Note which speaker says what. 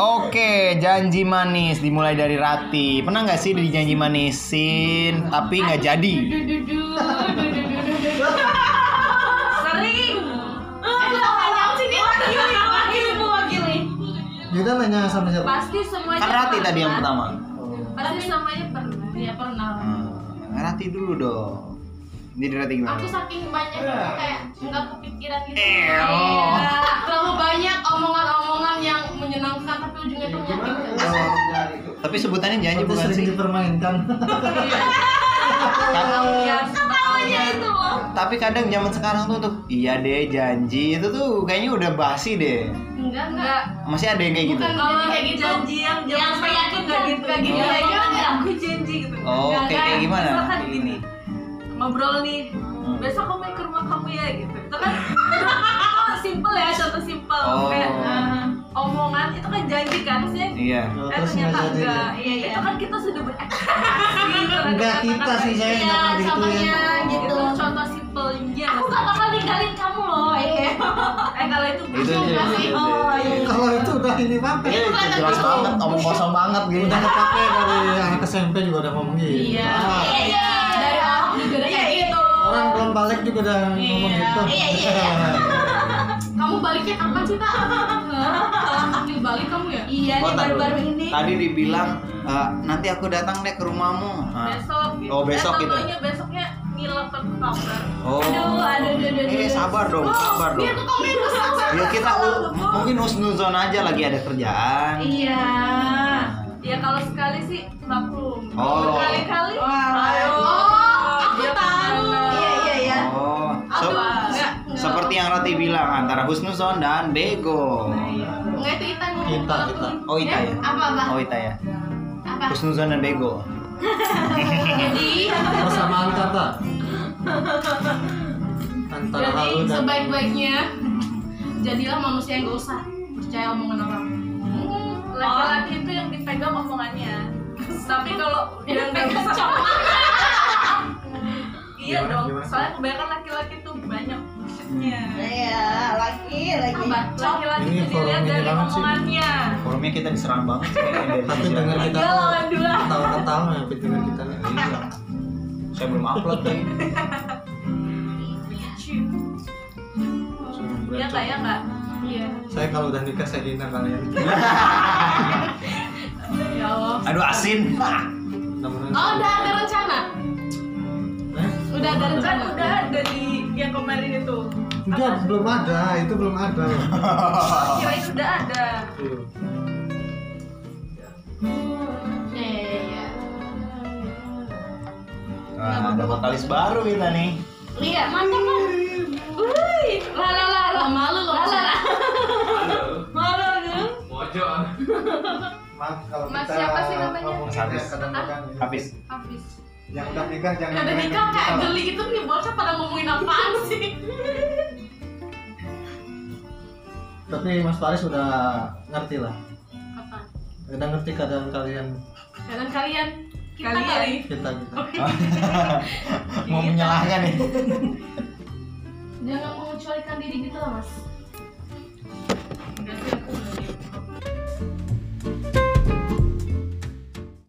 Speaker 1: Oke, janji manis dimulai dari Rati. Pernah nggak sih di janji manisin tapi nggak jadi?
Speaker 2: Sering. Wakili, mewakili.
Speaker 3: Yuda nanya sama siapa?
Speaker 4: Pasti semuanya
Speaker 1: Kan Rati
Speaker 4: pernah.
Speaker 1: tadi yang pertama.
Speaker 4: Pasti semuanya pernah. Ya pernah.
Speaker 1: Hmm, Rati dulu dong. Ini dari Rati gimana?
Speaker 4: Aku saking banyak aku kayak nggak kepikiran gitu.
Speaker 1: Eo.
Speaker 4: Iya. Terlalu banyak omongan-omongan yang menyenangkan tapi ujungnya tuh Iya. menyakitkan.
Speaker 1: Tapi sebutannya janji
Speaker 3: Itu
Speaker 1: bukan
Speaker 3: sering
Speaker 1: sih? Kan-
Speaker 3: dipermainkan.
Speaker 1: Iya,
Speaker 4: Ya, ketawanya itu loh.
Speaker 1: Tapi kadang zaman sekarang tuh tuh iya deh janji itu tuh kayaknya udah basi deh.
Speaker 4: Enggak, enggak.
Speaker 1: Masih ada yang kayak gitu.
Speaker 4: Bukan
Speaker 2: Kalau
Speaker 4: kayak gitu.
Speaker 2: janji yang
Speaker 4: Yang
Speaker 2: jangan meyakinkan
Speaker 4: meyakinkan,
Speaker 2: gitu.
Speaker 4: kayak gitu.
Speaker 2: Kayak
Speaker 4: Kayak
Speaker 2: gimana?
Speaker 4: gitu.
Speaker 2: Aku janji gitu.
Speaker 1: Oh,
Speaker 2: Enggak,
Speaker 1: kayak- kayak
Speaker 2: kan?
Speaker 1: gimana?
Speaker 2: Misalkan
Speaker 1: Kayak
Speaker 2: gini. Ngobrol nih.
Speaker 1: Hmm.
Speaker 2: Besok aku main ke rumah kamu ya gitu. Itu kan oh, simple ya, contoh simple.
Speaker 1: Oh.
Speaker 2: Kayak eh, omongan itu kan janji kan maksudnya
Speaker 1: Iya.
Speaker 2: Eh
Speaker 3: Oh, Terus nggak
Speaker 2: ternyata
Speaker 3: jadi.
Speaker 2: enggak. Iya, Gitu, iya. Itu kan kita sudah berekspektasi.
Speaker 3: Enggak kita sih saya
Speaker 4: Iya,
Speaker 3: nggak pernah digituin.
Speaker 4: contohnya
Speaker 2: Itu
Speaker 4: gitu.
Speaker 2: gitu. contoh simpelnya.
Speaker 4: Aku gak bakal ninggalin kamu loh. Eh,
Speaker 2: Eh kalau itu
Speaker 1: Itu aja. itu
Speaker 2: bukan sih.
Speaker 1: aja.
Speaker 2: Oh, iya.
Speaker 3: Kalau itu udah ini banget.
Speaker 1: Iya, itu jelas banget, omong kosong banget gitu.
Speaker 3: Udah kepake Eh, dari anak SMP juga udah ngomong gitu.
Speaker 2: Iya.
Speaker 3: Ah,
Speaker 4: Iya, iya. Dari aku juga udah kayak gitu.
Speaker 3: Orang belum balik juga udah ngomong
Speaker 2: Iya.
Speaker 3: gitu.
Speaker 4: Iya, iya, Kamu baliknya kapan sih, Pak? Hah? Balik kamu ya? Iya,
Speaker 1: Oh,
Speaker 4: nih
Speaker 1: tadi-
Speaker 4: baru-baru ini.
Speaker 1: Tadi dibilang "Eh, nanti aku datang deh ke rumahmu. Ah.
Speaker 2: Besok gitu.
Speaker 1: Oh, besok
Speaker 2: eh,
Speaker 1: gitu.
Speaker 2: contohnya besoknya ngilang ke kamar.
Speaker 1: Oh.
Speaker 4: Aduh, aduh, aduh,
Speaker 1: Eh,
Speaker 4: aduh, aduh. Oh, iya,
Speaker 1: sabar dong, sabar dong.
Speaker 4: Biar tuh kamu yang rusak.
Speaker 1: Ya kita u- mungkin husnuzon aja lagi ada kerjaan.
Speaker 4: Iya.
Speaker 2: Ya kalau sekali sih maklum.
Speaker 1: Oh.
Speaker 2: Berkali-kali.
Speaker 4: Wah,
Speaker 2: ayo.
Speaker 4: oh, aku
Speaker 2: Dia
Speaker 4: tahu.
Speaker 2: kemana.
Speaker 4: Iya, iya, iya.
Speaker 1: Oh, so-
Speaker 4: Aduh, enggak, enggak.
Speaker 1: seperti yang Rati bilang antara husnuzon dan bego.
Speaker 2: iya.
Speaker 4: Enggak itu Ita ngomong
Speaker 3: Kita,
Speaker 4: kalau
Speaker 3: kita.
Speaker 4: aku-
Speaker 1: Oh, Ita
Speaker 4: Eh,
Speaker 1: ya?
Speaker 4: Apa, apa?
Speaker 1: Oh, Ita ya.
Speaker 4: Apa?
Speaker 1: Husnuzon dan bego.
Speaker 4: Jadi,
Speaker 3: Persamaan kata. Antara
Speaker 4: jadi
Speaker 3: halu dan
Speaker 4: sebaik-baiknya jadilah manusia yang gak usah percaya omongan orang. Hmm, Oh.
Speaker 2: Laki-laki itu yang dipegang omongannya. Tapi kalau udah nggak bisa Iya
Speaker 3: Gimana,
Speaker 2: dong,
Speaker 3: gimana?
Speaker 2: soalnya kebanyakan laki-laki tuh banyak
Speaker 1: Hmm.
Speaker 2: bullshitnya
Speaker 5: Iya, lagi lagi.
Speaker 4: Bacot.
Speaker 2: Laki-laki
Speaker 3: Ini
Speaker 2: itu dilihat
Speaker 3: forum ini
Speaker 2: dari
Speaker 3: banget sih.
Speaker 2: omongannya Iya,
Speaker 1: Forumnya kita diserang banget. sih, kayaknya dari
Speaker 3: tapi
Speaker 1: sisi
Speaker 3: dengar
Speaker 1: lain.
Speaker 3: kita
Speaker 2: Ya
Speaker 3: tuh
Speaker 2: lawan dua
Speaker 3: ketawa-ketawa ya dengar kita nih.
Speaker 1: Iya. Saya belum upload nih.
Speaker 2: Iya nggak, ya nggak?
Speaker 4: Iya.
Speaker 3: Saya kalau udah nikah saya hina kalian.
Speaker 2: Ya Allah
Speaker 1: Aduh asin.
Speaker 4: Iya,
Speaker 3: Mudah-mudahan-
Speaker 4: Oh, udah ada rencana?
Speaker 3: Eh?
Speaker 4: Udah ada
Speaker 2: Kan
Speaker 4: rencana?
Speaker 2: udah dari yang kemarin itu
Speaker 3: Enggak, belum ada. Itu belum ada. loh.
Speaker 2: Kirain udah ada
Speaker 3: Tuh.
Speaker 4: Iya, iya, iya.
Speaker 1: Nah, ada vokalis baru kita nih.
Speaker 4: Iya, mantap kan? Wuih, lah lah lah lah malu loh. Lah lah lah. Malu dong.
Speaker 3: Mas, kalau
Speaker 4: Mas
Speaker 3: kita
Speaker 4: siapa sih namanya?
Speaker 3: ngomong
Speaker 1: Mas Hafiz.
Speaker 3: kayak kadang-kadang ini.
Speaker 1: Habis.
Speaker 4: Habis.
Speaker 3: Yang udah nikah jangan
Speaker 4: Udah
Speaker 3: dengerin
Speaker 4: nikah kayak
Speaker 3: kita.
Speaker 4: geli gitu nih bocah pada ngomongin apaan sih?
Speaker 3: Tapi Mas Faris udah ngerti lah.
Speaker 4: Apa?
Speaker 3: Udah ngerti keadaan kalian
Speaker 4: Kalian kalian kita
Speaker 2: Kalian.
Speaker 4: kali.
Speaker 3: kita gitu.
Speaker 1: Mau menyalahkan nih.
Speaker 4: Jangan mengecualikan diri gitu lah, Mas.
Speaker 2: Enggak sih aku nggak